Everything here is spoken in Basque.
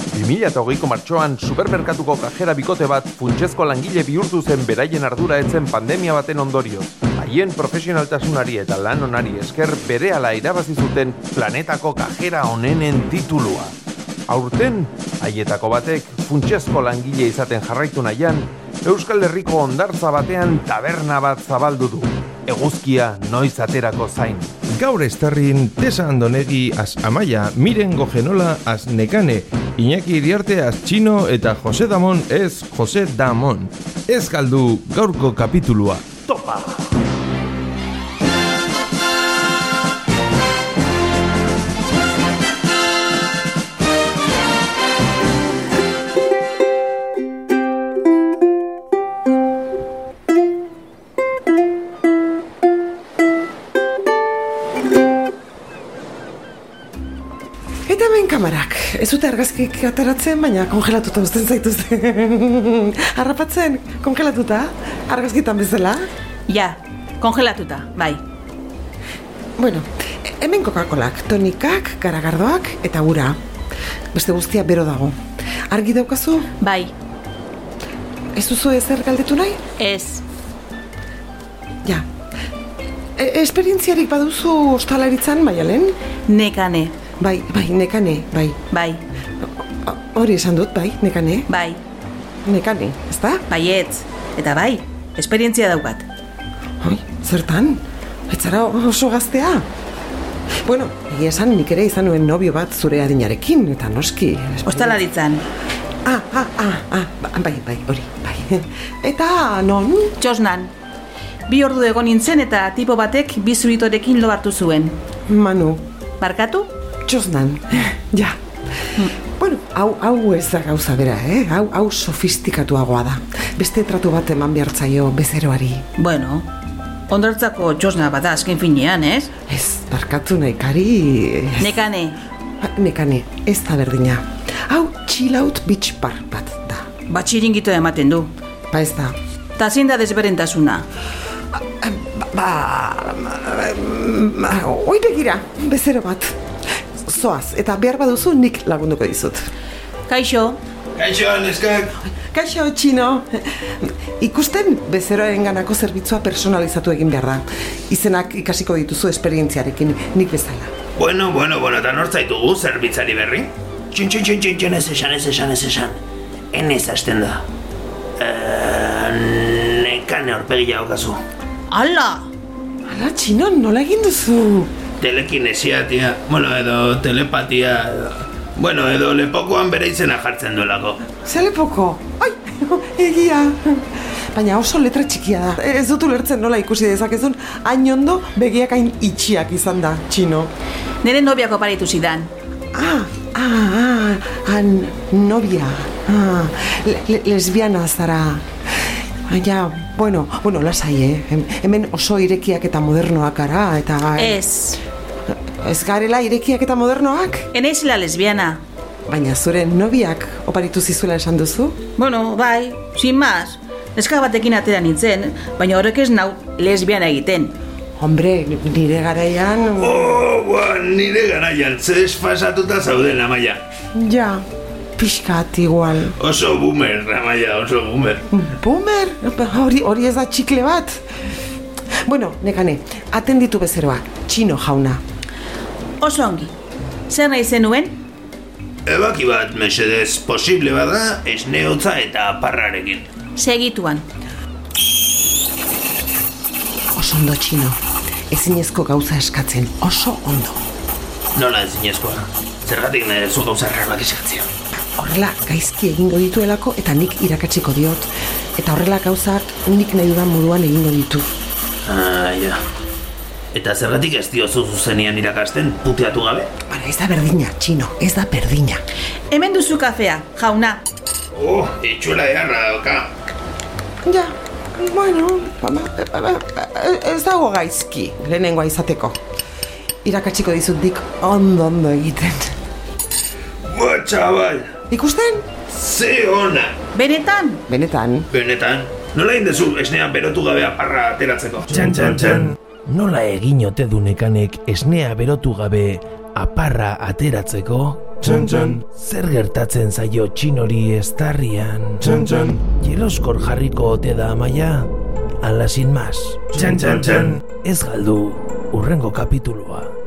2008ko martxoan supermerkatuko kajera bikote bat funtsezko langile bihurtu zen beraien ardura etzen pandemia baten ondorio. Haien profesionaltasunari eta lan onari esker berehala irabazi zuten planetako kajera onenen titulua. Aurten, haietako batek funtsezko langile izaten jarraitu nahian, Euskal Herriko ondartza batean taberna bat zabaldu du. Eguzkia noiz aterako zain. Gaur estarrin Tesa Andonegi az Amaia, Miren Gogenola az Nekane, Iñaki Iriarte az Txino eta Jose Damon ez Jose Damon. Ez galdu gaurko kapitulua. Topa! Eta hemen kamarak, ez dute argazkik ateratzen, baina kongelatuta uzten zaituzte. Harrapatzen, kongelatuta, argazkitan bezala. Ja, kongelatuta, bai. Bueno, he- hemen Coca-Colak, tonikak, garagardoak eta ura. Beste guztia bero dago. Argi daukazu, Bai, ez duzu ezer galdetu nahi? ez. Ja. E esperientziarik baduzu ostalaritzan, maialen? Nekane, Bai, bai, nekane, bai. bai, O- Hori esan dut, bai, nekane, bai, nekane, ezta? baietz. Eta bai, esperientzia daukat. Oi, zertan? Etzara oso gaztea? Bueno, egia esan nik ere izan nuen nobio bat zure adinarekin, eta noski... eh, Ostalaritzan, Ah, ah, ah, ah, ba- bai, bai, hori, bai. Eta non? txosnan. Bi ordu egon nintzen eta tipo batek bi zuritorekin lo hartu zuen. Manu, Barkatu? txosnan, ja. Bueno, hau, hau ez da gauza bera, eh? Hau, hau sofistikatuagoa da. Beste tratu bat eman behartzaio bezeroari. Bueno, ondortzako txosna bada azken finean, ez? Ez, barkatu nahi, kari... Nekane, Nekane, ez da berdina. Hau, chill out beach bar bat da. batxiringitoa ematen du. Ba ez da. Ta zein da desberdintasuna. Ba, ba, ba, oi begira, bezero bat. Zoaz, eta behar baduzu nik lagunduko dizut. Kaixo, Kaixo, neskak! Kaixo, txino! Ikusten bezeroaren ganako zerbitzua personalizatu egin behar da. Izenak ikasiko dituzu esperientziarekin, nik bezala. Bueno, bueno, bueno, eta nortzaitugu zerbitzari berri? Txin, txin, txin, txin, txin, ez esan, ez esan, ez esan. Enez hasten da. Eh, nekane aurpegia daukazu. ala! Ala, txino, nola egin duzu? Telekinesia, tia. Bueno, edo telepatia, edo... Bueno, edo lepokoan bere izena jartzen duelako. Zelepoko! Ai, egia! Baina oso letra txikia da. Ez dut ulertzen nola ikusi dezakezun, hain ondo begiak hain itxiak izan da, txino. Nire nobiako paritu zidan. Ah, ah, ah, an, novia. Ah, le, le- lesbiana zara. Ah, Ja, bueno, bueno, lasai, eh? Hem- Hemen oso irekiak eta modernoak gara, eta... Ez, Ez garela irekiak eta modernoak? enaizela lesbiana. Baina zure nobiak oparitu zizula esan duzu? Bueno, bai, sin más. Neska batekin atera nintzen, baina horrek ez nau lesbiana egiten. Hombre, nire garaian... Oh, ba, nire garaian, zez pasatuta zauden, amaia. Ja, pixkat igual. Oso boomer, amaia, oso boomer. Boomer, hori, hori ez da txikle bat. Bueno, nekane, atenditu bezeroak, txino jauna. Oso ongi. Zer nahi zenuen? Ebaki bat, mesedez, posible bada, esneotza eta aparrarekin. Segituan. Oso ondo txino. Ezinezko gauza eskatzen, oso ondo. Nola ezinezkoa. Zergatik nire zu gauza errarlak eskatzio. Horrela, gaizki egingo dituelako eta nik irakatsiko diot. Eta horrela gauzak nik nahi dudan moduan egingo ditu. Ah, ja. Eta zergatik ez diozu zuzenian irakasten, puteatu gabe? Bara, ez da berdina, txino, ez da berdina. Hemen duzu kafea, jauna. Oh, itxula eharra dauka. Ja, bueno, bama, ez dago gaizki, lehenengoa izateko. Irakatsiko dizut dik ondo ondo egiten. Ba, txabal, Ikusten? ze ona! Benetan, Benetan. Benetan, nola indezu esnean berotu gabe aparra ateratzeko? Txan, txan, txan. Nola egin ote du nekanek esnea berotu gabe aparra ateratzeko? Txan, txan, Zer gertatzen zaio txinori estarrian? txan, txan, Jeloskor jarriko ote da amaia? Alasin mas. txan, txan, txan. Ez galdu, urrengo kapitulua.